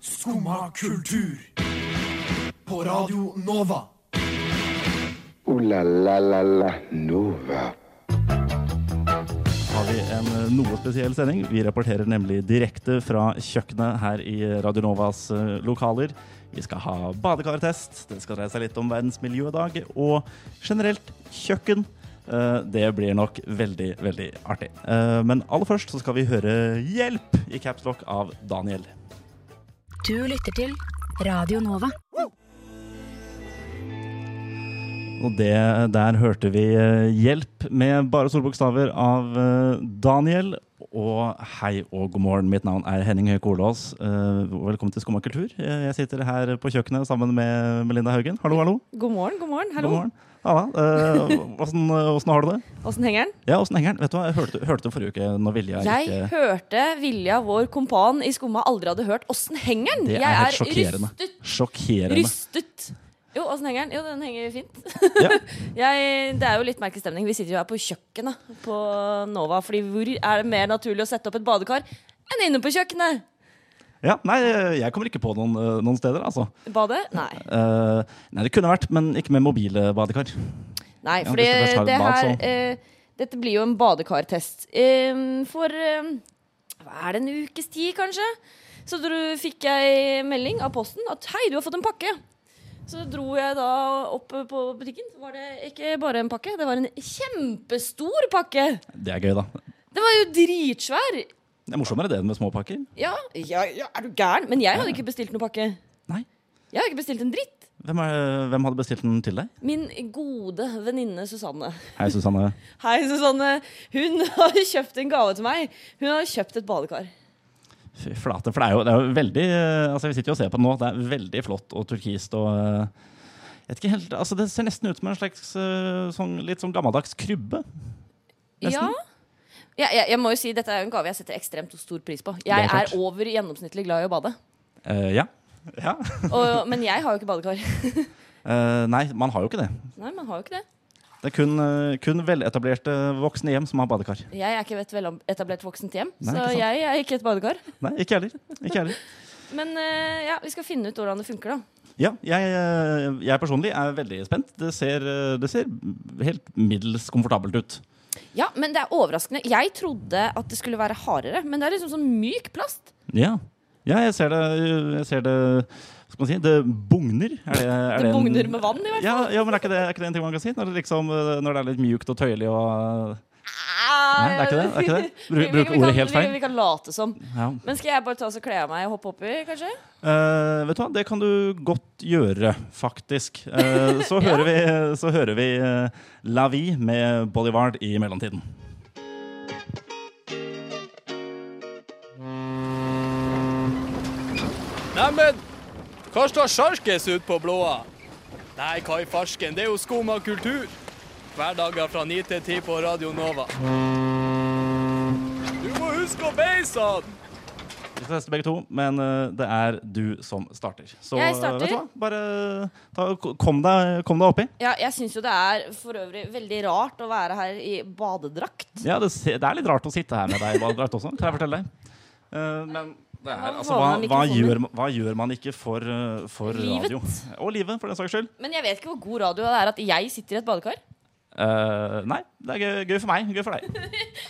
Skumma kultur. På Radio Nova. Ooh la la la la Nova. har vi en eh, noe spesiell sending. Vi rapporterer nemlig direkte fra kjøkkenet her i Radionovas eh, lokaler. Vi skal ha badekartest, det skal dreie seg litt om verdens miljødag, og generelt kjøkken. Eh, Det blir nok veldig, veldig artig. Eh, Men aller først så skal vi høre 'Hjelp' i Caps Lock av Daniel. Du lytter til Radio Nova. Og det, der hørte vi eh, hjelp med bare store bokstaver av eh, Daniel. Og hei og god morgen, mitt navn er Henning Høie Kolås. Eh, Velkommen til Skumma kultur. Eh, Jeg sitter her på kjøkkenet sammen med Melinda Haugen. Hallo, hallo. God morgen, god morgen. Hallo. God morgen. Halla. Eh, Åssen åssen har du det? Åssen henger den? Ja, åssen henger den? Vet du hva, jeg hørte, hørte det forrige uke når Vilja Jeg ikke hørte Vilja, vår kompan i skumma, aldri hadde hørt. Åssen henger den? Det er jeg helt sjokkerende. rystet. Sjokkerende. Rystet. Jo, åssen henger den? Jo, den henger fint. Ja. Jeg, det er jo litt merkestemning. Vi sitter jo her på kjøkkenet på Nova, fordi hvor er det mer naturlig å sette opp et badekar enn inne på kjøkkenet? ja. Nei, jeg kommer ikke på noen, eh, noen steder, altså. Badet? Nei. Eh, nei, det kunne vært, men ikke med mobile badekar. Nei, Ja, fordi hvis det først har et det bad, her så- eh, Dette blir jo en badekartest. Ehm, for eh, hva er det, en ukes tid, kanskje? Så dro, fikk jeg melding av posten at hei, du har fått en pakke. Så dro jeg da opp på butikken. Så var det ikke bare en pakke, det var en kjempestor pakke! Det er gøy, da. Den var jo dritsvær! Det er morsommere det enn med småpakker. Ja, ja, ja, er du gæren? Men jeg hadde ikke bestilt noen pakke. Nei. Jeg har ikke bestilt en dritt. Hvem, er, hvem hadde bestilt den til deg? Min gode venninne Susanne. Hei, Susanne. Hei, Susanne. Hun har kjøpt en gave til meg. Hun har kjøpt et badekar. Fy flate. For det er jo, det er jo veldig eh, Altså, vi sitter jo og ser på den nå. Det er veldig flott og turkist og eh, jeg vet ikke helt, altså Det ser nesten ut som en slags eh, sånn, litt sånn gammeldags krybbe. Nesten. Ja. Ja, jeg, jeg må jo si Dette er jo en gave jeg setter ekstremt stor pris på. er Jeg er, klart. over gjennomsnittlig glad i å bade. Eh, ja. ja. Og, men jeg har jo ikke badekar. Eh, nei, man har jo ikke det. Nei, man har jo ikke det. Det er kun, eh, kun veletablerte voksne hjem som har badekar. Jeg er ikke et veletablert voksent hjem, Nei, så ikke sant. jeg er ikke et badekar. Nei, ikke heller. Ikke heller. Men eh, ja, vi skal finne ut hvordan det funker, da. Ja, jeg, eh, jeg personlig er veldig spent. Det ser, eh, det ser helt middels komfortabelt ut. Ja, men det er overraskende. Jeg trodde at det skulle være hardere, men det er liksom sånn myk plast. Ja. ja, jeg ser det Jeg ser det Hva skal man si? Det bugner. Er det, er Det en- bugner med vann, i hvert fall. ja, ja, men er ikke, det, er ikke det en ting man kan si? Når det, liksom, eh, når det er litt mjukt og tøyelig og Nei, det er ikke det? det, er ikke det. Bru- Vi- vi- Bruker vi kan- ordet helt Vi, vi feil? kan late som. Ja. Men skal jeg bare ta oss og kle av meg og hoppe oppi, kanskje? Eh, vet du hva, det kan du godt gjøre, faktisk. Eh, så, hører vi, så hører vi eh, La Vie med Bolivard i mellomtiden. Neimen, hva står sjarkes ut på blåa? Nei, hva i farsken, det er jo skum av kultur. Hverdager fra 9 til 10 på Radio Nova. Du må huske å beise han! Vi skal teste begge to, men eh, det er du som starter. Så Jeg eh, starter. vet du hva, bare ta, kom, deg, kom deg oppi. Ja, jeg syns jo det er for øvrig veldig rart å være her i badedrakt. Ja, det, se- det er litt rart å sitte her med deg, Valdraut, også, kan jeg fortelle deg. Eh, men det er, Man altså, hva, våger hva, mikrofoner. gjør, man- hva gjør man ikke for, eh, for Livet. radio? Og livet, for den saks skyld. Men jeg vet ikke hvor god radio det er at jeg sitter i et badekar. Eh, nei, det er gøy, gøy for meg. Gøy for deg.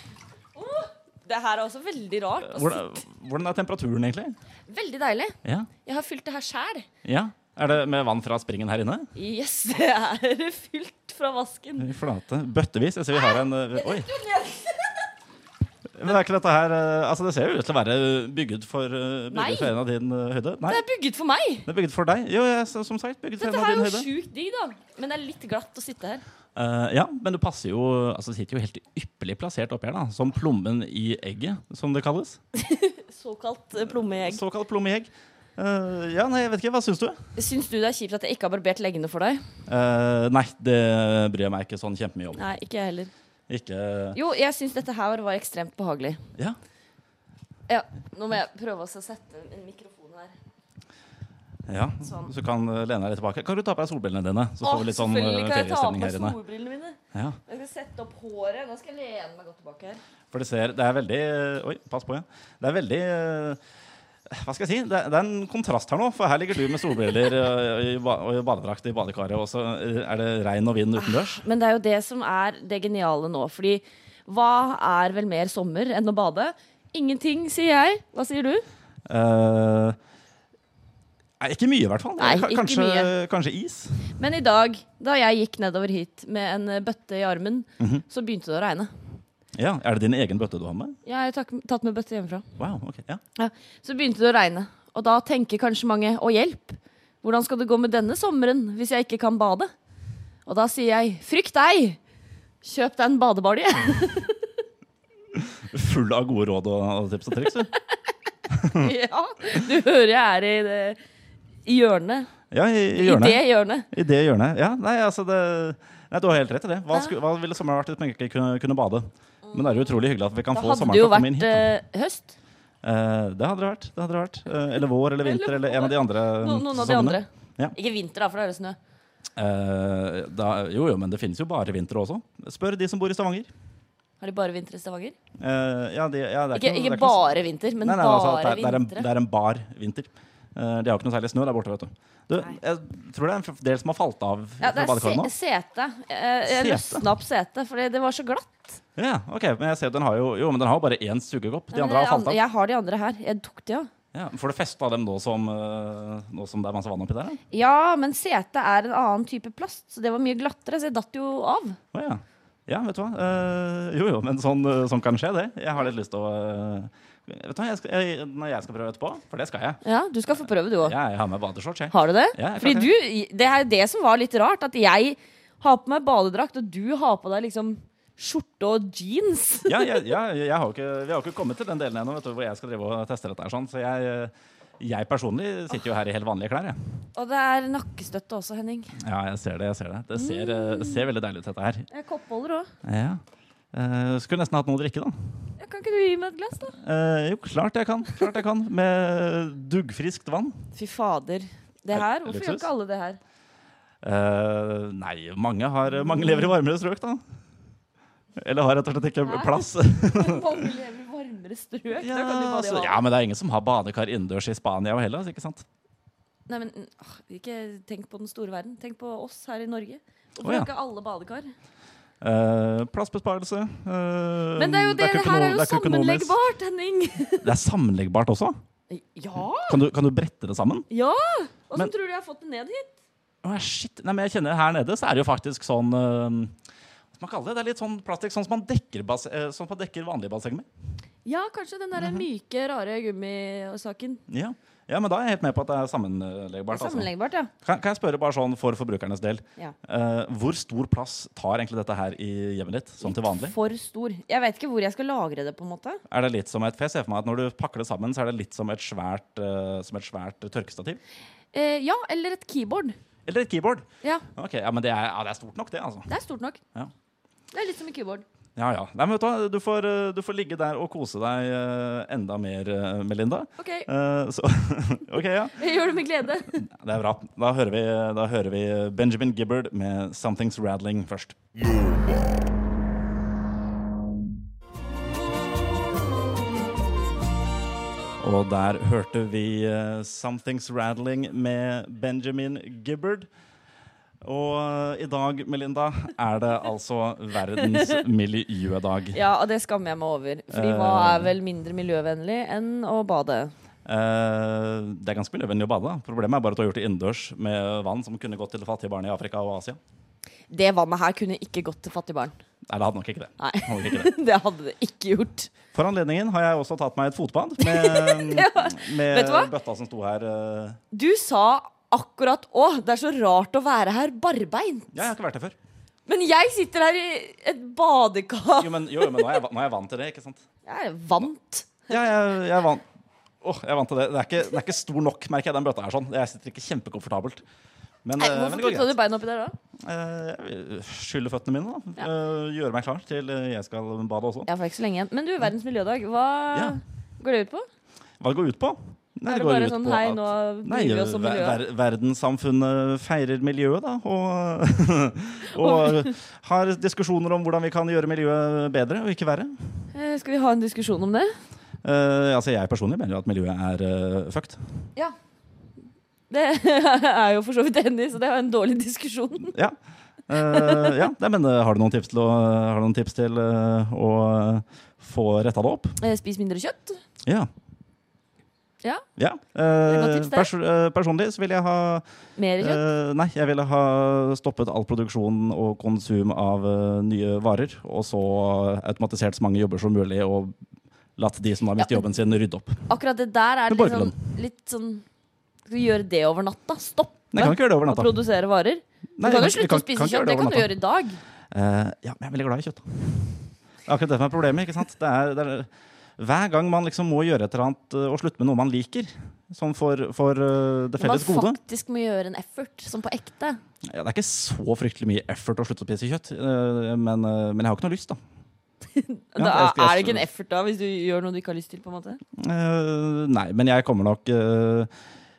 Det her er også veldig rart. å Hvordan, hvordan er temperaturen, egentlig? si. Veldig deilig. Ja. Jeg har fylt det her sjæl. ja. Er det med vann fra springen her inne? Yes, det er fylt fra vasken. I Flate. Bøttevis. Jeg ser vi har en eh, Oi. Men det er ikke dette her eh, Altså, det ser jo ut til å være bygget for, eh, Nei. bygget for en av din eh, høyde. Nei. Det er bygget for meg. Det er bygget for deg. Jo, jeg, er som sagt, bygget for Dette en av her er din jo høyde. sjukt digg, da. Men det er litt glatt å sitte her. Eh, ja, men du passer jo Altså, du sitter jo helt ypperlig plassert oppi her, da. Som plommen i egget, som det kalles. Såkalt eh, plommeegg. Såkalt plomme i egg. Eh, ja, nei, jeg vet ikke. Hva syns du? Syns du det er kjipt at jeg ikke har barbert leggene for deg? Eh, nei, det bryr jeg meg ikke sånn kjempemye om. Nei, ikke jeg heller. Ikke Jo, jeg syns dette her var ekstremt behagelig. Ja. Ja, nå må jeg prøve også å sette en mikrofon her. ja. Sånn. Så kan eh, lene deg litt tilbake. Kan du ta på deg solbrillene dine? Så Å, får vi litt sånn selvfølgelig eh, kan jeg ta av feriestemning meg her inne. solbrillene mine. Ja. Jeg skal sette opp håret. Nå skal jeg lene meg godt tilbake her. For det ser Det er veldig Oi, pass på, ja. Det er veldig eh, hva skal jeg si? Det, det er en kontrast her nå, for her ligger du med solbriller og i ba- og i badedrakt i badekaret, og så eh, er det regn og vind utendørs. Men det er jo det som er det geniale nå. Fordi hva er vel mer sommer enn å bade? Ingenting, sier jeg. Hva sier du? Eh, nei, ikke mye, i hvert fall. Nei, Ka- ikke kanskje, mye. kanskje is. Men i dag, da jeg gikk nedover hit med en eh, bøtte i armen, Mhm. så begynte det å regne. Ja, Er det din egen bøtte du har med? Jeg har tak- tatt med bøtte hjemmefra. Wow, ok, ja. Ja. Så begynte det å regne. Og da tenker kanskje mange å hjelp. Hvordan skal det gå med denne sommeren hvis jeg ikke kan bade? Og da sier jeg frykt deg! Kjøp deg en badebalje. Full av gode råd og, og tips og triks. du. ja, du hører jeg er i det i hjørnet. Ja, i, i I hjørnet. det hjørnet. I det hjørnet. Ja, nei, altså det, nei, du har helt rett i det. Hva, sku, hva ville sommeren vært uten jeg ikke kunne, kunne bade? Men det er jo utrolig hyggelig at vi kan Mm. Da få hadde det sommeren til jo å komme inn vært hit. da. eh, høst. Eh, det hadde det vært. det hadde det vært. Eh, eller vår eller vinter eller en av de andre mm, No, noen av de sesongene. andre. Ja. Ikke vinter, da, for da er det snø. Eh, da, jo, jo, men det finnes jo bare vinter også. Spør de som bor i Stavanger. Har de bare vinter i Stavanger? Eh, ja, de, ja, det er Ikke, noe- det ikke er noe- bare vinter, men Nei, nei, bare altså, at det, er, det, er en, vintre. det er en bar vinter. Eh, de har ikke noe særlig snø der borte, vet du. du jeg tror det er en f- del som har falt av Ja, fra det er badekarene. se sete. Eh, Jeg Sete? løsna opp setet, for det var så glatt. Ja, ok, men jeg ser at den har jo, jo, men den har jo bare én sugekopp. De andre har falt av. Jeg har de andre her. Jeg tok de av. Ja, får du festa dem nå som, eh, nå som det er masse vann oppi der? da? Ja, men sete er en annen type plast, så det var mye glattere, så jeg datt jo av. Å ja. ja, vet du hva. Eh, jo jo, men sånn, eh, sånn kan skje, det. Jeg har litt lyst til å eh, Vet du hva, jeg skal, jeg, Når jeg skal prøve etterpå, for det skal jeg Ja, du skal få prøve, du òg. Ja, Jeg har med badeshorts, jeg. Har du det? Ja, jeg er Fordi klart du, det er jo det som var litt rart, at jeg har på meg badedrakt, og du har på deg liksom skjorte og jeans. Ja, jeg, ja, jeg har jo ikke, vi har jo ikke kommet til den delen ennå vet du, hvor jeg skal drive og teste dette. her sånn, Så jeg, eh, jeg personlig sitter jo her i helt vanlige klær. Jeg. Og det er nakkestøtte også, Henning. Ja, jeg ser det. jeg ser Det Det ser, eh, det ser veldig deilig ut, dette her. Jeg koppholder òg. Ja. Ja. Eh, skulle nesten hatt noe å drikke, da. Kan ikke du gi meg et glass, da? Eh, jo, klart jeg kan. klart jeg kan Med duggfriskt vann. Fy fader. Det Er- her? Hvorfor gjør luksus? ikke alle det her? Eh, nei, mange, har, mange lever i varmere strøk, da. Eller har rett og slett ikke Hæ? plass. Mange lever i varmere strøk. da Ja, kan de bade i så, havet. ja, Men det er ingen som har badekar innendørs i Spania og Hellas. ikke sant? Nei, men åh, Ikke tenk på den store verden. Tenk på oss her i Norge. Hvorfor Å, ja. har ikke alle badekar? Eh, plassbesparelse eh, Men det er jo det, det ikke her noe- er jo det ikke økonomisk. sammenleggbart, Henning! Det er sammenleggbart også? Ja! Kan du, kan du brette det sammen? ja. Åssen Men- tror du jeg har fått det ned hit? Å, shit. Nei, men jeg kjenner Her nede så er det jo faktisk sånn eh, Hva skal man kalle det? Det er litt sånn plastikk sånn som man dekker, bas eh, sånn som man dekker vanlige basseng med. Ja, kanskje den Mhm. der myke, rare gummisaken. Ja. ja, men da er jeg helt med på at det er sammenleggbart. Altså. Sammenleggbart, ja. Kan, kan jeg spørre bare sånn for forbrukernes del Ja. eh, Hvor stor plass tar egentlig dette her i hjemmet ditt, sånn til vanlig? For stor. Jeg vet ikke hvor jeg skal lagre det, på en måte. Er det litt som et, for jeg ser for meg at Når du pakker det sammen, så er det litt som et svært, eh, som et svært tørkestativ. Eh, ja, eller et keyboard. Eller et keyboard. Ja, Ok, ja, Men det er, ja, det er stort nok, det. altså det er stort nok. Ja. Det er litt som et keyboard. Ja, ja. Nei, men vet du, hva? du, får, eh, du får ligge der og kose deg eh, enda mer, eh, Melinda. OK, Eh, så, ok, ja. jeg gjør det med glede. Det er bra. Da hører vi, da hører vi Benjamin Gibbard med 'Something's Rattling' først. Og der hørte vi eh, 'Something's Rattling' med Benjamin Gibbard. Og eh, i dag, Melinda, er det altså verdens miljødag. Ja, og det skammer jeg meg over. Fordi hva er vel mindre miljøvennlig enn å bade? Eh, det er ganske miljøvennlig å bade. da. Problemet er bare at du har gjort det innendørs med vann som kunne gått til fattige barn i Afrika og Asia. Det vannet her kunne ikke gått til fattige barn. Nei, det hadde nok ikke det. Nei. Det hadde nok ikke det. Det hadde det ikke gjort. For anledningen har jeg også tatt meg et fotbad med, Vet med du hva? bøtta som sto her. eh. Du sa akkurat Å, det er så rart å være her barbeint. Ja, jeg har ikke vært her før. Men jeg sitter her i et badekar. Jo, men, jo, jo, men nå, er jeg, va- nå er jeg vant til det, ikke sant? Jeg er vant. Ja, jeg, jeg er vant. Åh, jeg er vant til det. Det er, ikke, den er ikke stor nok, merker jeg, den bøtta her sånn. Jeg sitter ikke kjempekomfortabelt. Men, Nei, eh, men hvorfor det går putta du greit. beina oppi der da? Eh, jeg vil Skylle føttene mine, da. Eh, Gjøre meg klar til eh, jeg skal bade også. Jeg får ikke så lenge igjen. Men du, Verdens miljødag, hva Ja. går det ut på? Hva det går ut på? Nei, Er det går bare ut sånn, på hei, at- nå Nei, eh, bryr vi oss om ver- miljøet? ver- verdenssamfunnet feirer miljøet, da. Og, og har diskusjoner om hvordan vi kan gjøre miljøet bedre og ikke verre. Eh, skal vi ha en diskusjon om det? Eh, altså jeg personlig mener jo at miljøet er eh, fucked. Ja. Det er jo for så vidt enig i, så det er jo en dårlig diskusjon. Ja. Eh, ja. Nei, men eh, har du noen tips til å, har du noen tips til, eh, å eh, få retta det opp? Eh, Spis mindre kjøtt. Ja. Ja. ja. er et Eh, godt tips, det. pers eh, personlig så vil jeg ha Mer kjøtt. Eh, nei, jeg ville ha stoppet all produksjon og konsum av eh, nye varer, og så automatisert så mange jobber som mulig, og latt de som har mistet Ja, jobben sin, rydde opp. Akkurat det der er Men litt sånn, borgerlønn. litt sånn Skal du gjøre det over natta? Stoppe Nei, jeg kan ikke gjøre det over å natta. produsere varer? Du Nei, kan jo jeg kan- jeg slutte kan- å spise kan ikke gjøre det kjøtt. Det kan over du gjøre i dag. Eh, ja, men jeg er veldig glad i kjøtt. da. Det er akkurat det som er problemet. ikke sant? Det er, det er, hver gang man liksom må gjøre et eller annet eh, og slutte med noe man liker, sånn for, for eh, det Man felles gode faktisk må gjøre en effort, som på ekte. ja, Det er ikke så fryktelig mye effort å slutte å spise kjøtt, eh, men, eh, men jeg har ikke noe lyst, da. Ja, da, jeg skal- er det ikke en effort da, hvis du gjør noe du ikke har lyst til? på en måte? Eh, nei, men jeg kommer nok eh,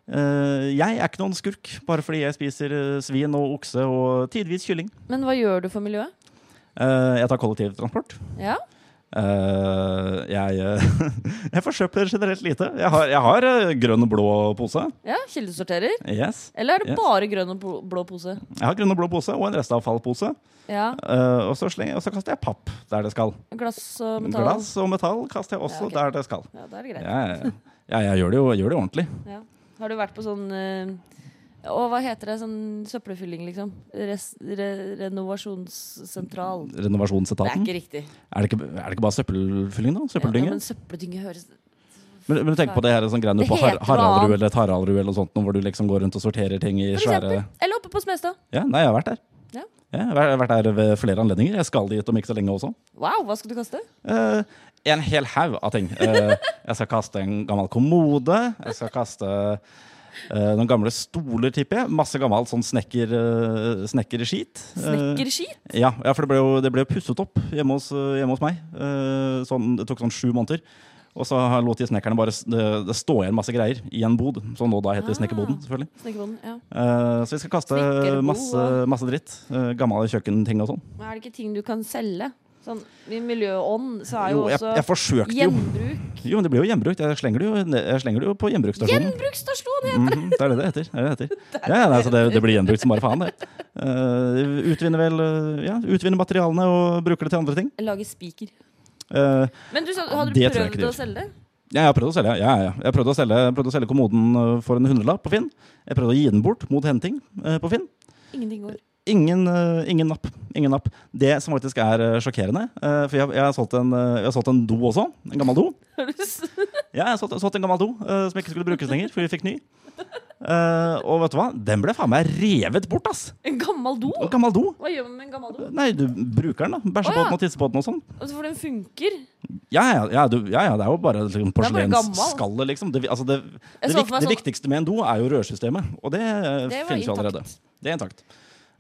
eh, Jeg er ikke noen skurk, bare fordi jeg spiser eh, svin og okse og tidvis kylling. Men hva gjør du for miljøet? Eh, jeg tar kollektivtransport. Ja, Eh, jeg, eh, jeg forsøper generelt lite. Jeg har, jeg har eh, grønn og blå pose. ja Kildesorterer? Yes. Eller er det Yes. bare grønn og bl- blå pose? Jeg har grønn og blå pose og en restavfallpose. Ja, Eh, og, så slenger, og så kaster jeg papp der det skal. Glass og metall? Glass og metall kaster jeg også Ja, ok. der det skal. Ja, da er det greit. Jeg, jeg, jeg gjør det jo jeg gjør det jo ordentlig. Ja. Har du vært på sånn eh, Å, hva heter det? Sånn søppelfylling, liksom? Res, re, renovasjonssentral. Det er Renovasjonsetaten. ikke riktig. Er det ikke, er det ikke bare søppelfylling, da? Søppeldynge? Ja, men søppeldynge høres men, men tenk på det her sånn greiene Det på Har heter noe Haraldrud annet. eller Taraldrud eller noe sånt, nå hvor du liksom går rundt og sorterer ting i For eksempel. svære Eller oppe på Smestad. Ja, nei, jeg har vært der. Ja. Jeg har vært- jeg har vært der ved flere anledninger. Jeg skal dit om ikke så lenge også. Wow, hva skal du kaste? Eh, en hel haug av ting. Eh, jeg skal kaste en gammel kommode. Jeg skal kaste eh, noen gamle stoler, tipper jeg. Masse gammelt sånn snekker, eh, snekkerskit. Eh, Snekkerskit? Ja, ja for det ble, jo, det ble jo pusset opp hjemme hos, hjemme hos meg. Eh, sånn, det tok sånn sju måneder. Og så har- lot de snekkerne bare s- det, det stå igjen masse greier i en bod, som nå da heter Ah. snekkerboden. selvfølgelig. Snekkerbonden, ja. Eh, så vi skal kaste Snekkerbo, masse, og- masse dritt. Eh, gamle kjøkkenting og sånn. Men er det ikke ting du kan selge? Sånn, I miljøånd så er jo, Jo, jeg, jeg også forsøkte jo. gjenbruk Jo, men det blir jo gjenbrukt. Jeg slenger det jo, ned- jeg slenger det jo på gjenbruksstasjonen. Gjenbruksstasjon! ja. Mhm, det er det det heter. Det, er det, det heter. Ja, ja, nei, så det, det blir gjenbrukt som bare faen, det. Eh, utvinner vel eh, Ja, utvinner materialene og bruker det til andre ting. Jeg Lager spiker. Eh, Men du sa, hadde du Det tror jeg ikke prøvd de å gjør. selge det? Ja, jeg har prøvd å selge. Ja, ja, ja. Jeg prøvde å selge, jeg prøvde å selge kommoden øh, for en hundrelapp på Finn. Jeg prøvde å gi den bort mot henting øh, på Finn. Ingenting går. Ingen, øh, ingen, napp. ingen napp. Det som faktisk er øh, sjokkerende øh, For jeg, jeg, har solgt en, øh, jeg har solgt en do også. En gammel do. Ja, jeg har solgt, solgt en gammel do øh, som ikke skulle brukes lenger, for vi fikk ny. Eh, og vet du hva? Den ble faen meg revet bort, ass! En gammel do? En gammel do. Hva gjør man med en gammel do? Nei, du bruker den, da. Bæsjer Å, på ja. den og tisser på den og sånn. Altså, for den funker. Ja ja, ja, du, ja, ja, det er jo bare liksom, bare porselensskallet, liksom. Det, vi- altså, det, det, så for vik- meg det sånn- viktigste med en do er jo rørsystemet, og det, eh, Det var finnes jo allerede. intakt. Det er intakt.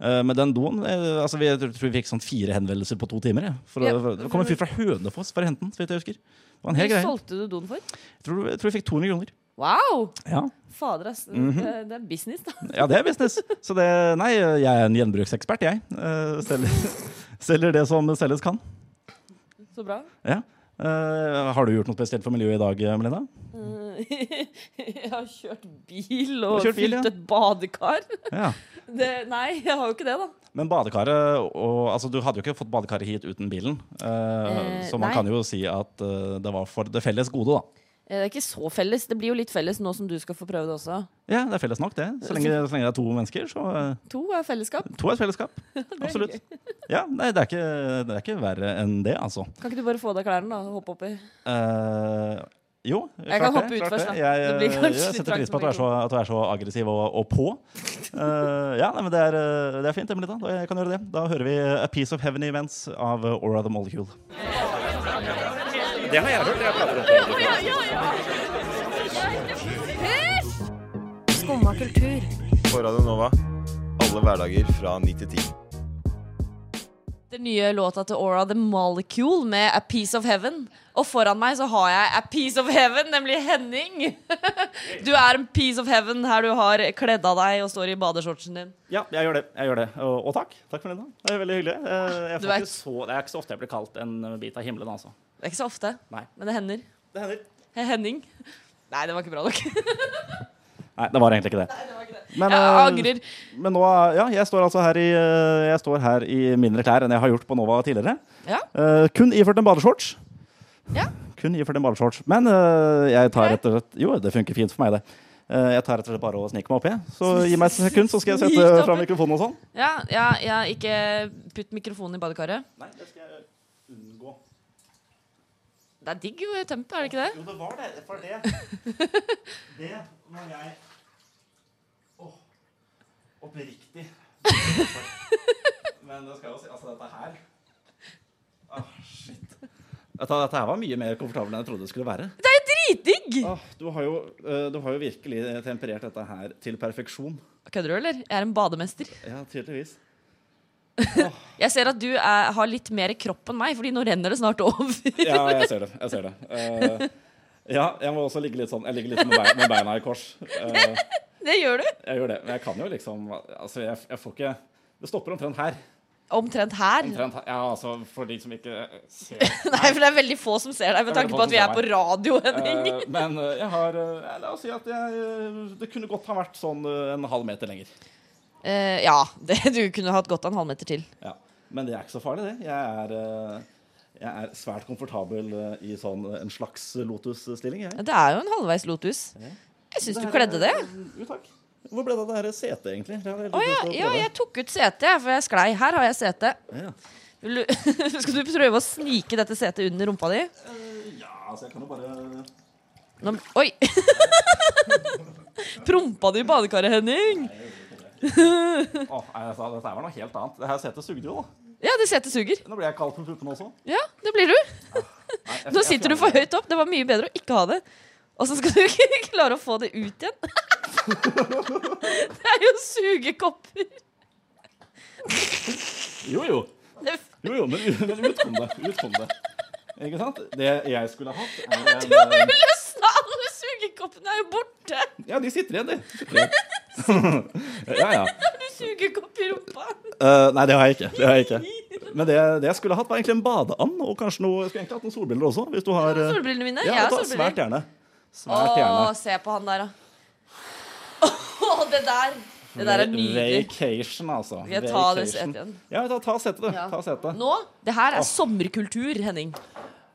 Eh, men den doen eh, altså, Vi jeg tror vi fikk sånn fire henvendelser på to timer. Jeg, for, å- Ja, for, det kom en fyr fra Hønefoss for å hente den. så vidt jeg husker Det var en hel Hvor greie. solgte du doen for? Jeg tror, jeg tror vi fikk 200 kroner. Wow! Ja. Fader, ass. Mhm. det, det er business, da. ja, det er business. Så det Nei, jeg er en gjenbruksekspert, jeg. Eh, selger, selger det som selges kan. Så bra. Ja. Eh, har du gjort noe spesielt for miljøet i dag, Melinda? Eh, jeg har kjørt bil Du og har kjørt bil, fylt ja. et badekar. Ja. Det, nei, jeg har jo ikke det, da. Men badekaret og, altså, Du hadde jo ikke fått badekaret hit uten bilen. eh, Eh, så man nei. kan jo si at eh, det var for det felles gode, da. Eh, Det er ikke så felles. Det blir jo litt felles nå som du skal få prøve det også. Ja, det er felles nok, det. Så lenge, så lenge det er to mennesker, så eh, To er fellesskap. To er et fellesskap. Absolutt. Ja, nei, det er, ikke, det er ikke verre enn det, altså. Kan ikke du bare få av deg klærne da, og hoppe oppi? Eh, jo, Jeg kan hoppe ut klart først, da. det. Jeg, Det blir eh, kanskje jeg litt setter pris på at trangt du er så, at du er så aggressiv og, og på. Eh, ja, nei, men det er, eh, det er fint, Emily. Da. Da- Jeg kan gjøre det. Da hører vi eh, A Piece of Heaven Events av eh, Aura the Molecule. Skumma kultur. På Radio Nova. Alle hverdager fra 9 til 10. Den nye låta til Aura The Molecule med A Piece of Heaven. Og foran meg så har jeg A Piece of Heaven, nemlig Henning. Du er en piece of heaven her du har kledd av deg og står i badeshortsen din. Ja, jeg gjør det. jeg gjør det Og, og takk. Takk for det. da. Det er veldig hyggelig. Eh, Jeg Du får er- ikke så, det er ikke så ofte jeg blir kalt en eh, bit av himmelen, altså. Det er ikke så ofte, Nei. men det hender. Det hender. Henning. Nei, det var ikke bra nok. Nei, det var egentlig ikke det. Men, Jeg eh, angrer. Men nå, ja, jeg står altså her i, eh, jeg står her i mindre klær enn jeg har gjort på Nova tidligere. Ja. Eh, kun iført en badeshorts. Ja. Kun iført en badeshorts. Men eh, jeg tar rett og slett Jo, det funker fint for meg, det. Eh, jeg tar rett og slett bare å snike meg oppi. Så gi meg et sekund, så skal jeg Snik sette deg fram oppi. mikrofonen og sånn. Ja, ja, ja, ikke putt mikrofonen i badekaret. Nei, det skal jeg unngå. Det er digg jo, tempo, er det ikke det? Jo, det var det. For det Det var jeg Åh, oppriktig Men det skal jo si Altså, dette her Åh, shit. Dette, dette her var mye mer komfortabelt enn jeg trodde det skulle være. Det er jo dritdigg! Åh, du, har jo, eh, du har jo virkelig temperert dette her til perfeksjon. Kødder du, eller? Jeg er en bademester. Ja, tydeligvis. Jeg ser at du er, har litt mer kropp enn meg, Fordi nå renner det snart over. Ja, jeg ser det. Jeg ser det. Eh, ja, jeg må også ligge litt sånn Jeg ligger litt med beina, med beina i kors. Eh, Det gjør du. Jeg gjør det, men jeg kan jo liksom Altså, jeg, jeg får ikke Det stopper omtrent her. Omtrent her. Omtrent her. Ja, altså, for de som ikke ser Nei, for det er veldig få som ser deg, med Det er veldig tanke få på som at vi ser er på radio, Henning. Eh, Men eh, jeg har eh, ja, La oss si at jeg eh, Det kunne godt ha vært sånn eh, en halv meter lenger. Eh, ja, det, du kunne hatt godt av en halvmeter til. Ja. Men det er ikke så farlig, det. Jeg er eh, jeg er svært komfortabel eh, i sånn eh, en slags lotus-stilling. jeg. Det er jo en halvveis Lotus. Jeg syns du her kledde det. er- Jo, takk. Hvor ble det av det her setet, egentlig? Jeg har veldig Å ja, lyst til å ja, prøve. jeg tok ut setet, jeg, for jeg sklei. Her har jeg sete. Ja. Vil du- Skal du prøve å snike dette setet under rumpa di? ja, altså, jeg kan jo bare Nå, oi! Prompa du i badekaret, Henning? Å, nei, altså, dette her var noe helt annet. Det her setet sugde jo, da. Ja, det setet suger. Nå ble jeg kald på puppene også. Ja, det blir du. Nei, jeg- Nå jeg sitter du fjerner for det. høyt opp. Det var mye bedre å ikke ha det. Og så skal du ikke klare å få det ut igjen. Det er jo sugekopper. Jo, jo. Det- Jo, jo, men, men ut kom det. Ut kom det. Ikke sant? Det jeg skulle ha hatt, er en, eh, Løsna alle sugekoppene er jo borte. Ja, de sitter igjen, de. Sitter igjen. ja, ja. Har du sugekopp i rumpa? Eh, nei, det har jeg ikke. Det har jeg ikke. Men det, det jeg skulle hatt, var egentlig en badeand og kanskje noe, jeg skulle egentlig hatt noen solbriller også. Hvis du har eh, Solbrillene mine? ja, jeg har vet du hva, Svært solbriller. gjerne. Svært gjerne. Å, se på han der, da. Å, det der. Det der er nydelig. Vacation, altså. Skal jeg ta det Vacation. setet igjen? Ja, ta, ta setet, du. Ja. Ta setet. Nå? Det her er sommerkultur, Henning.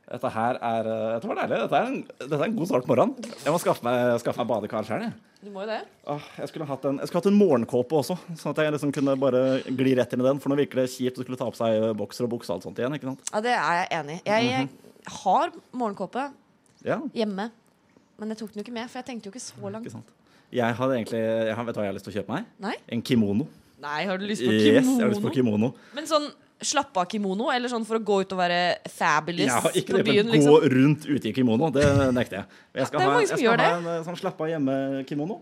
Dette her er eh, Dette var deilig. Dette er en, dette er en god start på morgenen. Jeg må skaffe meg, skaffe meg badekar sjøl, jeg. Du må jo det. Åh, Ah, jeg, skulle hatt en, jeg skulle hatt en morgenkåpe også, sånn at jeg liksom kunne bare gli rett inn i den. For nå virker det kjipt å skulle ta på seg eh, bokser og bukse og alt sånt igjen. ikke sant? Ja, det er jeg enig i. Mhm. Jeg har morgenkåpe. Ja, hjemme. Men jeg tok den jo ikke med, for jeg tenkte jo ikke så langt. ikke sant? Jeg hadde egentlig, jeg har, Vet du hva jeg har lyst til å kjøpe meg? Nei? En kimono. Nei, har du lyst på kimono? Yes, jeg har lyst på kimono. Men sånn slapp av kimono, eller sånn for å gå ut og være fabulous Ja, ikke på det, byen, men liksom? gå rundt ute i kimono. Det nekter jeg. Jeg det skal er ha, mange jeg som skal gjør ha en eh, sånn slappa hjemme-kimono.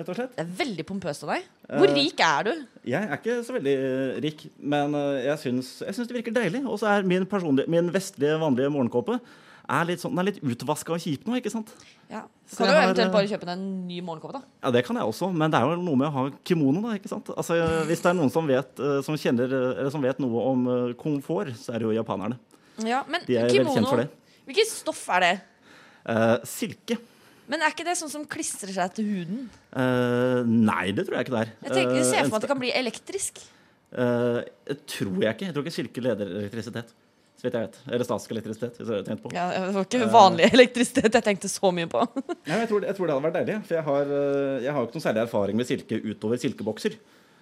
Rett og slett. Det er veldig pompøst av deg. Eh, Hvor rik er du? Jeg er ikke så veldig eh, rik, men eh, jeg syns, jeg syns det virker deilig. Og så er min, personlige- min vestlige, vanlige morgenkåpe er litt sånn, den er litt utvaska og kjip nå, ikke sant? Ja. Så jeg Kan du jo har, eventuelt eh, bare kjøpe deg en ny morgenkåpe, da? Ja, det kan jeg også, men det er jo noe med å ha kimono, da, ikke sant? Altså, hvis det er noen som vet, eh, som kjenner, eh, eller som vet noe om eh, komfort, så er det jo japanerne. Ja, men de er veldig kimono kjent for det. Hvilket stoff er det? Eh, silke? Men er ikke det sånn som klistrer seg til huden? Eh, nei, det tror jeg ikke det er. Jeg tenker, jeg Eh, ser en for meg at det sta- kan bli elektrisk. eh, jeg tror jeg ikke. Jeg tror ikke silke leder elektrisitet. Så vidt jeg vet. Eller statsk elektrisitet, hvis jeg har tenkt på. Ja, det var ikke Eh. vanlig elektrisitet jeg tenkte så mye på. Nei, men jeg, tror, jeg tror det hadde vært deilig, for jeg har, eh, jeg har jo ikke noe særlig erfaring med silke utover silkebokser.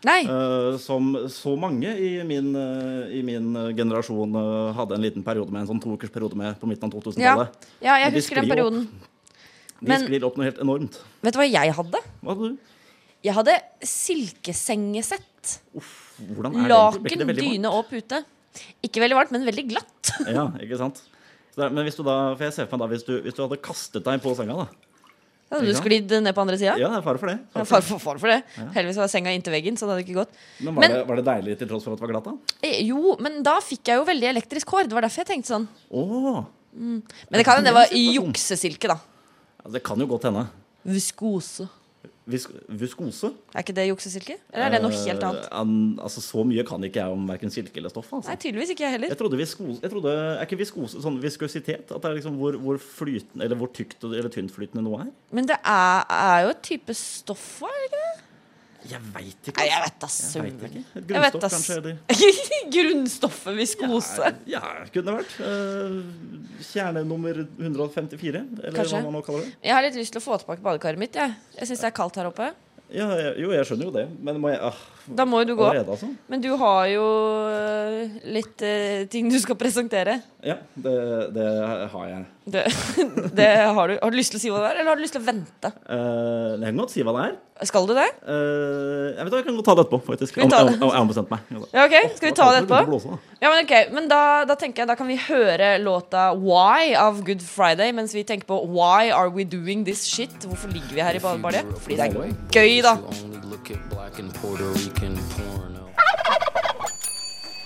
Nei, Eh, som så mange i min, eh, i min eh, generasjon eh, hadde en liten periode med, en sånn to ukers periode med på midten av 2000-tallet. ja, men jeg de husker den sklir opp. perioden. De Men- sklir opp noe helt enormt. Vet du hva jeg hadde? Hva hadde du? Jeg hadde silkesengesett. Hvordan er det? egentlig? Laken, Blir ikke det veldig dyne og pute. Ikke veldig varmt, men veldig glatt. varmt? Ja, ikke sant? Så det er- men hvis du da, for jeg ser for meg da, hvis du, hvis du hadde kastet deg på senga, da. Da hadde du Ja. sklidd ned på andre sida. Ja, det er fare for det. Far, far, far for det. Heldigvis var senga inntil veggen, så det hadde ikke gått. Men var, Men- det, var det deilig til tross for at det var glatt, da? Eh, Jo, men da fikk jeg jo veldig elektrisk hår. Det var derfor jeg tenkte sånn. Åh, Men det kan hende det var juksesilke, da. ja, det kan jo godt hende. Viskose. vis viskose. Er ikke det juksesilke? Eller er det noe helt annet? Eh, an- altså, så mye kan ikke jeg om verken silke eller stoff. Eh, Altså. Nei, tydeligvis ikke jeg heller. Jeg trodde viskose, jeg trodde, Er ikke viskose sånn viskositet? At det er liksom hvor, hvor, flyten, eller hvor tykt og- eller tyntflytende noe er? Men det er, er jo et type stoff, hva, er det ikke? det? Jeg veit ikke. Nei, jeg vet da Jeg vet søren. ikke. Et Jeg vet grunnstoff, ass. kanskje? Eller? Grunnstoffet viskose. Ja, kunne det vært. Eh, kjerne nummer 154, eller Kanskje. hva man nå kaller det. Jeg har litt lyst til å få tilbake badekaret mitt. Jeg, jeg syns det er kaldt her oppe. Ja, jeg- jo, jeg skjønner jo det, men må jeg ah, Da må jo du gå. Allerede, altså? Men du har jo øh, litt øh, ting du skal presentere. Ja, det, det har jeg. Det, det har, du, har du lyst til å si hva det er, eller har du lyst til å vente? Eh, jeg kan godt si hva det er. Skal du det? Eh, jeg vet ikke, jeg kan godt ta det etterpå, faktisk. Vi tar det. Jeg har ombestemt meg. Ja, ok, Skal vi ta det etterpå? Blåse, da. Ja, men ok, men da, da tenker jeg da kan vi høre låta Why av Good Friday mens vi tenker på Why are we doing this shit? Hvorfor ligger vi her i badebalje? Fordi det er gøy, da.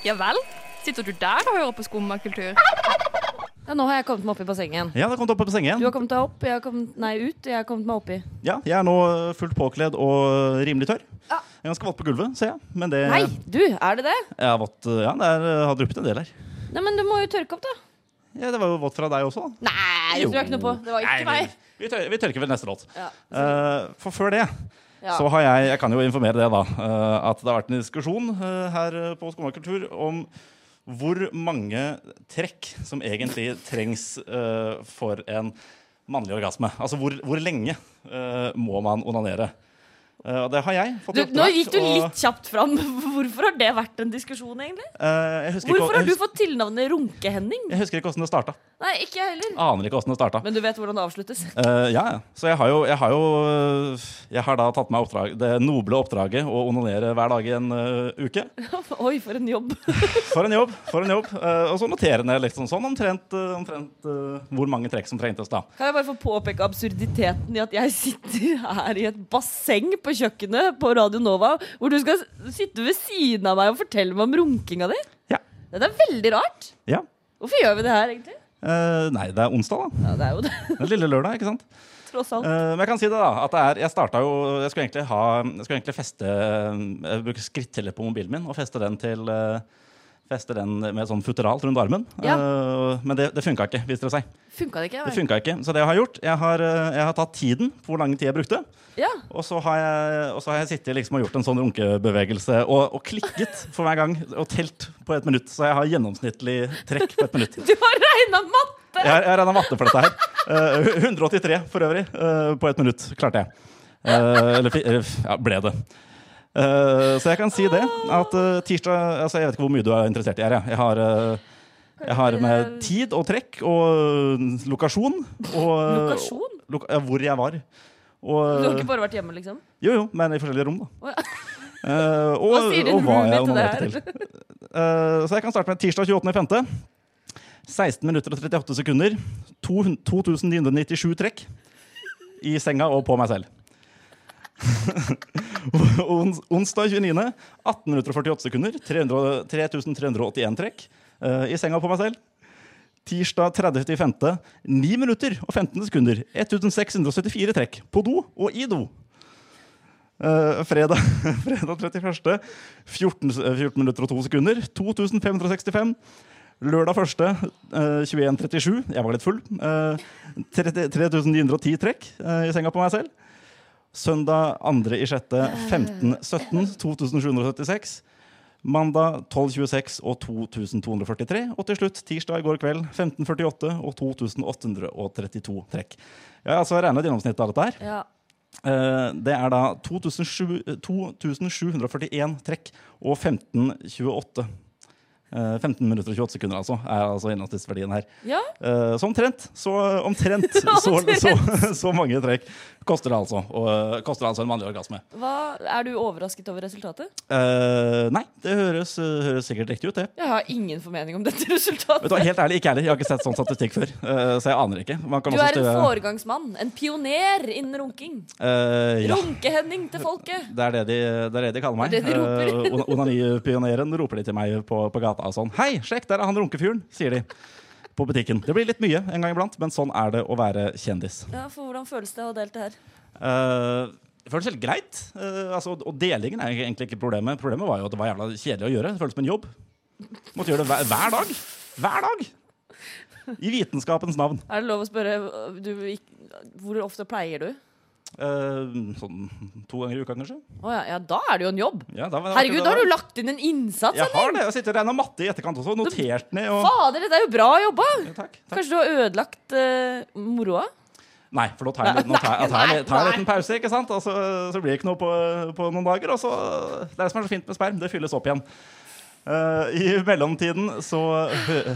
Ja vel? Sitter du der og hører på skummakultur? Ja, nå har jeg kommet meg opp i bassenget igjen. Ja, det kom opp på sengen. Du har kommet deg opp, jeg har kommet Nei, ut. Jeg har kommet meg oppi. Ja, jeg er nå eh, fullt påkledd og eh, rimelig tørr. Jeg er ganske våt på gulvet, ser jeg. Men det, Nei, du! Er det det? jeg har vått, eh, ja, det er, eh, har dryppet en del her. Nei, men du må jo tørke opp, da. Ja, det var jo vått fra deg også, da. Nei, det tror jeg ikke noe på. Det var ikke meg. Vi, tør, vi tørker vel neste låt. Ja. Eh, for før det Ja. så har jeg Jeg kan jo informere det, da. eh, at det har vært en diskusjon eh, her eh, på Skumma kultur om hvor mange trekk som egentlig trengs eh, for en mannlig orgasme. Altså hvor, hvor lenge eh, må man onanere? Eh, Og det har jeg fått Du, i nå oppdrag gikk du å- litt kjapt fram. Hvorfor har det vært en diskusjon, egentlig? Eh, jeg, husker Hvorfor ikke, har du jeg, husker, fått tilnavnet Runke-Henning? jeg husker ikke åssen det starta. Nei, ikke jeg heller. Aner ikke åssen det starta. Men du vet hvordan det avsluttes. Eh, ja, ja. Så jeg har jo Jeg har, jo, jeg har da tatt meg oppdrag, det noble oppdraget å onanere hver dag i en eh, uke. Oi, for en jobb. For en jobb! for en jobb Eh, Og så notere ned liksom sånn omtrent, eh, omtrent eh, hvor mange trekk som trengtes, da. Kan jeg bare få påpeke absurditeten i at jeg sitter her i et basseng på kjøkkenet på Radio Nova, hvor du skal s- sitte ved siden av meg og fortelle meg om runkinga di? Ja. Det er veldig rart. Ja. Hvorfor gjør vi det her, egentlig? Eh, nei, det er onsdag, da. Ja, det er jo det, Den lille lørdag, ikke sant? tross alt. Eh, men jeg kan si det, da. At det er, jeg starta jo Jeg skulle egentlig, ha, jeg skulle egentlig feste eh, Bruke skritteller på mobilen min og feste den til eh, Feste den med sånn futteralt rundt armen. Eh, men det, det funka ikke, viste det seg. Funka det ikke? Det Nei. funket ikke. Så det jeg har gjort, jeg har, eh, jeg har tatt tiden på hvor lang tid jeg brukte. Ja. Og så har jeg, og så har jeg sittet liksom og gjort en sånn runkebevegelse og, og klikket for hver gang og telt på et minutt. Så jeg har gjennomsnittlig trekk på et minutt. Du har regna matte! Jeg har, jeg har regna matte for dette her. Eh, 183 for øvrig eh, på et minutt klarte jeg. Eh, eller fi- eller f- ja, ble det. Eh, så jeg kan si det at eh, tirsdag altså Jeg vet ikke hvor mye du er interessert i her. Jeg, jeg, har, eh, jeg har med tid og trekk og eh, lokasjon og Lokasjon? Loka- ja, hvor jeg var. Du har Og, ikke bare vært hjemme, liksom? jo, jo, men i forskjellige rom, da. Å ja. Eh, og, Hva sier din og hva jeg roomie onanerte til til. Eh, så jeg kan starte med tirsdag 28.5. 16 minutter og 38 sekunder. 200 2997 trekk i senga og på meg selv. Ons- Onsdag 29. 18 minutter og 48 sekunder. 300, 3381 trekk eh, i senga og på meg selv. Tirsdag 30.5. 9 minutter og 15 sekunder. 1674 trekk på do og i do. Eh, fredag, fredag 31. 14, eh, 14 minutter og 2 sekunder. 2565. Lørdag 1. eh, 21.37. Jeg var litt full. Eh, 30 3910 trekk eh, i senga på meg selv. Søndag 2. i 6. 1517. 2776. Mandag 12.26 og 2243. Og til slutt tirsdag i går kveld 1548 og 2832 trekk. Jeg har altså regnet gjennomsnittet av dette her. ja. Eh, Det er da 2007 2741 trekk og 1528. Eh, 15 minutter og 28 sekunder, altså, er altså gjennomsnittsverdien her. Ja. Eh, Så omtrent, så eh, omtrent, så, så, så mange trekk koster det altså. Og eh, koster det altså en mannlig orgasme. Hva, er du overrasket over resultatet? Eh, nei, det høres, høres sikkert riktig ut, det. Jeg har ingen formening om Vet dette du, hva, resultatet. helt ærlig, ikke heller. Jeg har ikke sett sånn statistikk før, eh, så jeg aner ikke. Man kan Du også er en stille- foregangsmann. En pioner innen runking. Eh, ja. Runke-Henning til folket. Det er det de, det er det de kaller meg. Det er det de roper. Eh, ona- Onanipioneren roper de til meg på, på gata og sånn. Hei, sjekk, der er han runkefyren, sier de. På butikken. Det blir litt mye en gang iblant, men sånn er det å være kjendis. Ja, for hvordan føles det å ha delt det her? Eh, Det føltes helt greit. Eh, altså, og delingen er egentlig ikke problemet. Problemet var jo at det var jævla kjedelig å gjøre. Det føltes som en jobb. Måtte gjøre det hver, hver dag. Hver dag! I vitenskapens navn. Er det lov å spørre øh, du, ikk- Hvor ofte pleier du? Eh, sånn to ganger i uka, kanskje. Å ja, ja, da er det jo en jobb. Ja, da var det akkurat Herregud, det da har var. du lagt inn en innsats, Jeg har Henning! det. Jeg sitter og regner matte i etterkant også. Notert ned og Fader, dette er jo bra jobba! takk, Kanskje du har ødelagt eh, moroa? Nei, for nå tar jeg, nå tar jeg, tar jeg, tar jeg en liten pause, ikke sant? Og så, så blir det ikke noe på, på noen dager. Og så, det er det som er så fint med sperm. Det fylles opp igjen. Eh, I mellomtiden så hø-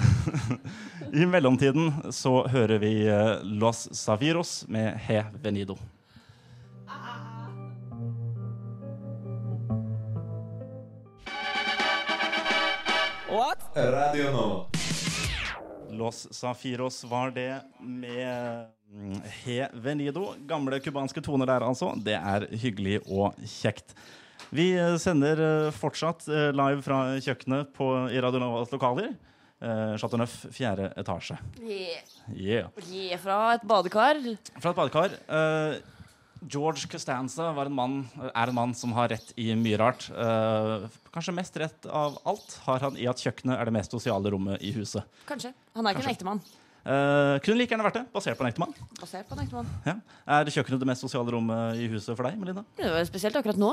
I mellomtiden så hører vi eh, Los Saviros med He Venido. Radio Nova. Los Safiros var det med mm, He Venido. Gamle cubanske toner der, altså. Det er hyggelig og kjekt. Vi eh, sender eh, fortsatt eh, live fra kjøkkenet på, i Radio Novas lokaler. Eh, Chateau Neuf, fjerde etasje. Yeah. Gi fra et badekar. Fra et badekar. eh, George Costanza var en mann, er en mann som har rett i mye rart. Eh, kanskje mest rett av alt har han i at kjøkkenet er det mest sosiale rommet i huset. Kanskje. Han er ikke en ektemann. Eh, kunne like gjerne vært det, basert på en ektemann. Basert på en ektemann. Ja. Er kjøkkenet det mest sosiale rommet i huset for deg, Melinda? Det var spesielt akkurat nå.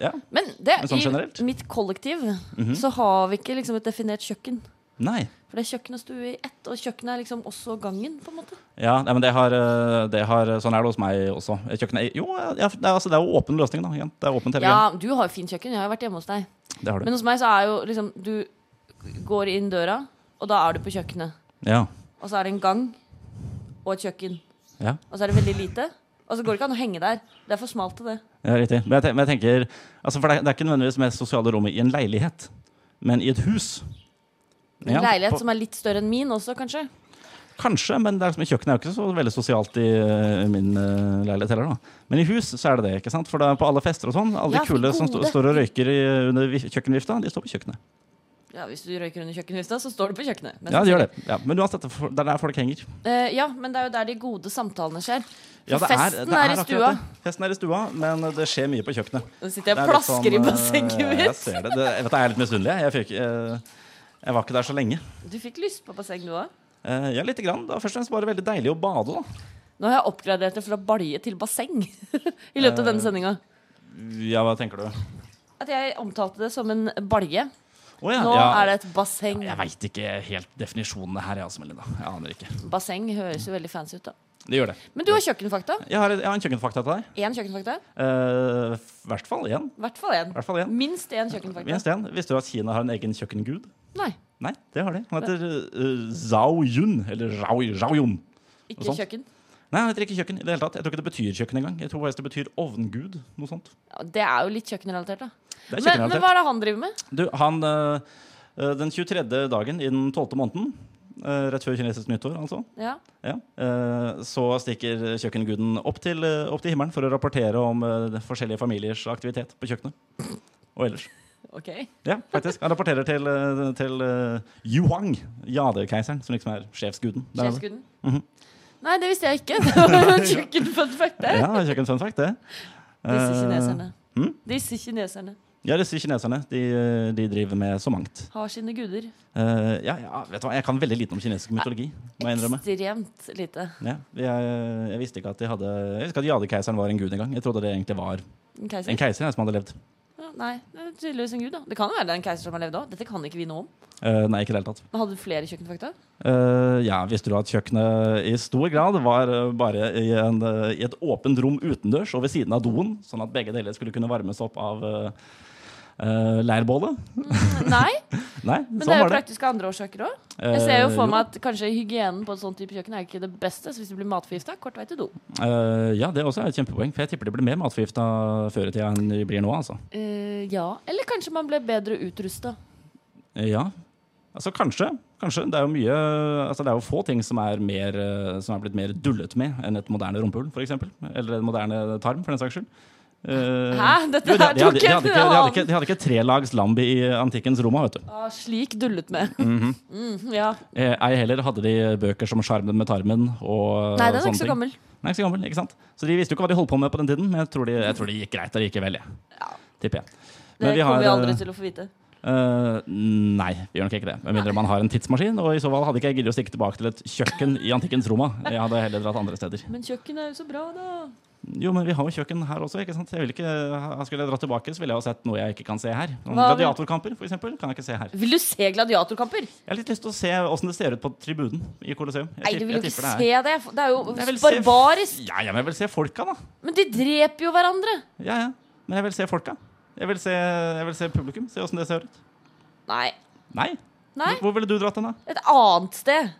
Ja. Men, det, Men sånn generelt? i mitt kollektiv Mhm. så har vi ikke liksom et definert kjøkken. Nei. For det er kjøkken og stue i ett, og kjøkkenet er liksom også gangen. på en måte Ja, nei, men det har, eh, det har Sånn er det hos meg også. Kjøkkenet er- Jo, ja, det er, altså, det er jo åpen løsning, da. igjen. Det er åpent hele Ja, Du har jo fint kjøkken. Jeg har jo vært hjemme hos deg. gangen. Det har Men du. hos meg så er jo liksom Du går inn døra, og da er du på kjøkkenet. Ja. Og så er det en gang og et kjøkken. Ja. Og så er det veldig lite. Og så går det ikke an å henge der. Det er for smalt til det. Ja, riktig. Men jeg, ten- men jeg tenker altså, For det er, det er ikke nødvendigvis det mest sosiale rommet i en leilighet, men i et hus. En Ja, leilighet på- som er litt større enn min også, kanskje. Kanskje, men det er liksom, kjøkkenet er jo ikke så veldig sosialt i eh, min eh, leilighet heller. da. Men i hus så er det det, ikke sant? For det er på alle fester og sånn. Alle Ja, de for kule som sto- gode. står og røyker i, under vi- kjøkkenvifta, de står på kjøkkenet. Ja, Hvis du røyker under kjøkkenvifta, så står du på kjøkkenet. Men, Ja, de gjør det. Ja, men uansett, det er for- det er der folk henger. Eh, ja, men det er jo der de gode samtalene skjer. For Ja, det festen det er, i akkurat stua. det. Festen er i stua, men det skjer mye på kjøkkenet. Nå sitter Det er jeg og litt plasker i sånn, eh, bassenget ja, mitt. Jeg ser det. det jeg vet, jeg er litt misunnelig. jeg. Jeg, fikk, eh, jeg var ikke der så lenge. Du fikk lyst på basseng, du òg. Eh, ja, lite grann. Det var først og fremst bare veldig deilig å bade, da. Nå har jeg oppgradert det fra balje til basseng i løpet av Eh. denne sendinga. Ja, hva tenker du? Å At jeg omtalte det som en balje. ja. Nå ja. er det et basseng. Jeg veit ikke helt definisjonene her, jeg også, Melinda. Jeg aner ikke. Basseng høres jo veldig fancy ut, da. Det gjør det. Men du har kjøkkenfakta. Jeg har, jeg har en kjøkkenfakta til deg. Én kjøkkenfakta. Eh, I hvert fall én. I hvert fall én. Hvert fall én. Minst én Minst kjøkkenfakta. én. Visste du at Kina har en egen kjøkkengud? Nei, Nei, det har de. Han heter eh, Zhao Yun. Eller Zhao, Zhao Yun. ikke Og sånt. kjøkken. Nei, han heter ikke kjøkken i det hele tatt. Jeg tror ikke det betyr kjøkken engang. Jeg tror faktisk det betyr ovngud. Noe sånt. Ja, det er jo litt kjøkkenrelatert, da. Det er Men, men kjøkkenrelatert. hva er det han driver med? Du, han eh, eh, Den 23. dagen i den 12. måneden, eh, rett før kinesisk nyttår, altså, Ja. ja, eh, så stikker kjøkkenguden opp til, eh, opp til himmelen for å rapportere om eh, forskjellige familiers aktivitet på kjøkkenet. Og ellers. OK. Ja, faktisk. Han rapporterer til, eh, til eh, Yu Huang, jadekeiseren, som liksom er Mhm. sjefsguden. der nede. Sjefsguden. Nei, det visste jeg ikke. Det var en kjøkkenfunfact der. Ja, kjøkkenfunfact, det. Disse Eh, kineserne. hm? Disse kineserne Ja, disse kineserne. De, eh, de driver med så mangt. har sine guder. Eh, ja, ja, vet du hva? Jeg kan veldig lite om kinesisk mytologi. må jeg innrømme. Ekstremt lite. Ja, jeg, eh, jeg visste ikke at de hadde Jeg visste ikke at jadekeiseren var en gud engang. Jeg trodde det egentlig var En en keiser. keiser jeg, som hadde levd. Ja, Nei, det er tydeligvis en gud, da. Det kan jo være det er en keiser som har levd òg. Dette kan ikke vi noe om. Eh, nei, ikke i det hele tatt. Men hadde du flere kjøkkenfakta? Eh, ja, Visste du at kjøkkenet i stor grad var eh, bare i, en, eh, i et åpent rom utendørs og ved siden av doen, sånn at begge deler skulle kunne varmes opp av uh, leirbålet? Nei, Nei, men det sånn er jo var det. praktiske andre årsaker òg. Jeg ser jo Eh, for meg at kanskje hygienen på et sånt type kjøkken er ikke det beste. Så hvis du blir matforgifta, kort vei til do. Eh, ja, det er også et kjempepoeng, for jeg tipper de blir mer matforgifta før i tida enn de blir nå. altså. Eh, ja. Eller kanskje man ble bedre utrusta. Eh, Ja. Altså kanskje. Kanskje. Det er jo mye Altså det er jo få ting som er, mer, eh, som er blitt mer dullet med enn et moderne rumpehull, f.eks. Eller en moderne tarm, for den saks skyld. Eh, Hæ? Dette jo, de- her de hadde- de tok jeg hadde ikke- fra De hadde han. ikke, de hadde ikke trelags lambi i antikkens Roma, vet du. Ah, slik dullet med. Mhm. Mm, ja. Eh, Ei heller hadde de bøker som 'Sjarmen med tarmen' og Nei, den er sånne ikke så ting. gammel. Nei, ikke så gammel, ikke sant? Så de visste jo ikke hva de holdt på med på den tiden, men jeg tror, de, jeg tror det gikk greit allikevel, jeg. Tipper jeg. Det Men vi har, kommer vi eh, aldri til å få vite. Eh, nei, vi gjør nok ikke det. Med mindre man har en tidsmaskin. Og i så fall hadde ikke jeg giddet å stikke tilbake til et kjøkken i antikkens Roma. Jeg hadde heller dratt andre steder. Men kjøkkenet er jo så bra, da. Jo, men vi har jo kjøkken her også, ikke sant? Jeg vil ikke, ha- skulle jeg dratt tilbake, så ville jeg jo sett noe jeg ikke kan se her. Noen Hva vil- gladiatorkamper, for eksempel, kan jeg ikke se her. Vil du se gladiatorkamper? Jeg har litt lyst til å se åssen det ser ut på tribunen i Colosseum. Jeg Nei, tipp- du vil jo jeg ikke tipper se er- det. Det er jo Jeg vil se- barbarisk. Ja, ja, men jeg vil se folka, da. Men de dreper jo hverandre. Ja, ja. Men jeg vil se folka. Jeg vil se, jeg vil se publikum. Se åssen det ser ut. Nei. Nei. Nei. Hvor ville du dratt den, da? Et annet sted.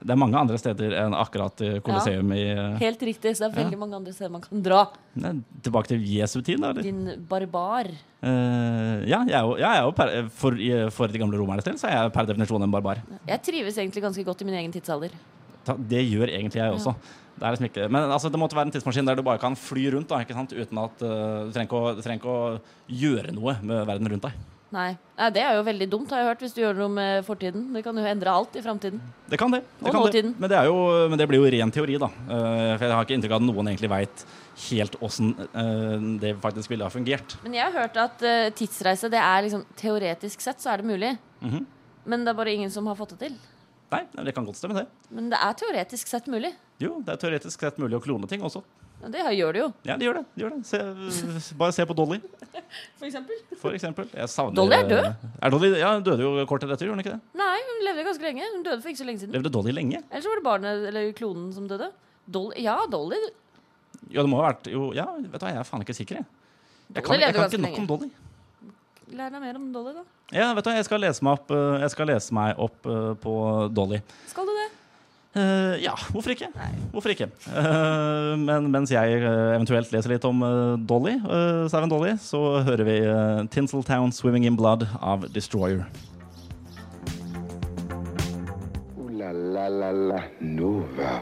Det er mange andre steder enn akkurat eh, Colosseum i eh, Helt riktig. Så det er Ja. veldig mange andre steder man kan dra. Nei, tilbake til Jesu tid, da? Eller? Din barbar. Eh, ja, jeg er jo, jeg er jo per, eh, for, i- for de gamle romernes del så er jeg per definisjon en barbar. Jeg trives egentlig ganske godt i min egen tidsalder. Ta- Det gjør egentlig jeg også. Det er liksom ikke, men altså, det måtte være en tidsmaskin der du bare kan fly rundt da, ikke sant? uten at eh, du, trenger ikke å, du trenger ikke å gjøre noe med verden rundt deg. Nei. Nei, det er jo veldig dumt, har jeg hørt, hvis du gjør noe med fortiden. Det kan jo endre alt i framtiden. Det kan det. det, Og kan det. nåtiden. Men, det er jo, men det blir jo ren teori, da. Eh, for jeg har ikke inntrykk av at noen egentlig veit helt åssen eh, det faktisk ville ha fungert. Men jeg har hørt at eh, tidsreise, det er liksom Teoretisk sett så er det mulig. Mhm. Men det er bare ingen som har fått det til. Nei, nei, det kan godt stemme, det. Men det er teoretisk sett mulig. Jo, det er teoretisk sett mulig å klone ting også. Og det har- gjør det jo. Ja, det gjør det. det, gjør det. Se, bare se på Dolly. For eksempel? For eksempel. Jeg savner, Dolly er død. Er Dolly, ja, hun døde jo kort tid etter, gjorde hun ikke det? Nei, hun levde ganske lenge. Hun døde for ikke så lenge siden. Levde Dolly lenge? Eller så var det barnet, eller klonen, som døde. Dolly, ja, Dolly. Ja, det må ha vært jo, ja, vet du hva, jeg er faen ikke sikker, jeg. Jeg Dolly kan, jeg levde kan ikke ganske nok om Dolly. Lær deg mer om Dolly, da. Ja, vet du hva, jeg skal lese meg opp, eh, jeg skal lese meg opp eh, på Dolly. Skal du det? Eh, ja, hvorfor ikke? Hvorfor ikke? Eh, men mens jeg eh, eventuelt leser litt om eh, Dolly, eh, Sauen Dolly, så hører vi eh, Tinseltown Swimming in Blood av Destroyer. Ooh la la la la Nova.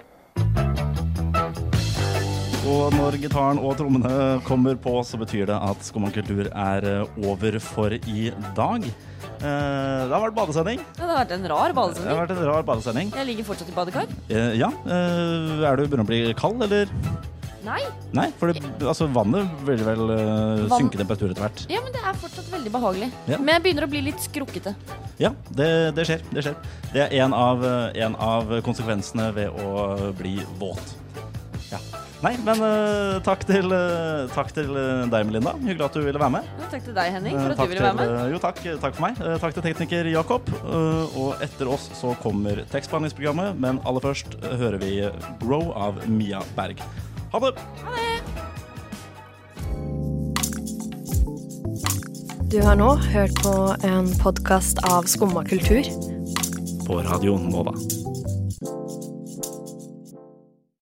Og når gitaren og trommene kommer på, så betyr det at Skummakultur er eh, over for i dag. Eh, det har vært badesending. Ja, det har vært en Det rar har badesending. vært en rar badesending. Jeg ligger fortsatt i badekar. Eh, ja, eh, er du begynner å bli kald, eller? Nei. Nei, for det, altså, vannet vil vel eh, Vann- synke i temperatur etter hvert. Ja, men det er fortsatt veldig behagelig. Ja. Men jeg begynner å bli litt skrukkete. Ja, det, det skjer. Det skjer. Det er en av, eh, en av konsekvensene ved å bli våt. Ja. Nei, men eh, takk til, eh, takk til eh, deg, Melinda. Hyggelig at du ville være med. Ja, takk til deg, Henning, Eh, for at takk du ville være til, med. eh, Jo, takk, takk for meg. Eh, Takk til tekniker Jakob. Eh, Og etter oss så kommer tekstbehandlingsprogrammet, men aller først eh, hører vi Grow av Mia Berg. Ha det! Du har nå hørt på en podkast av Skumma kultur. På radioen Nova.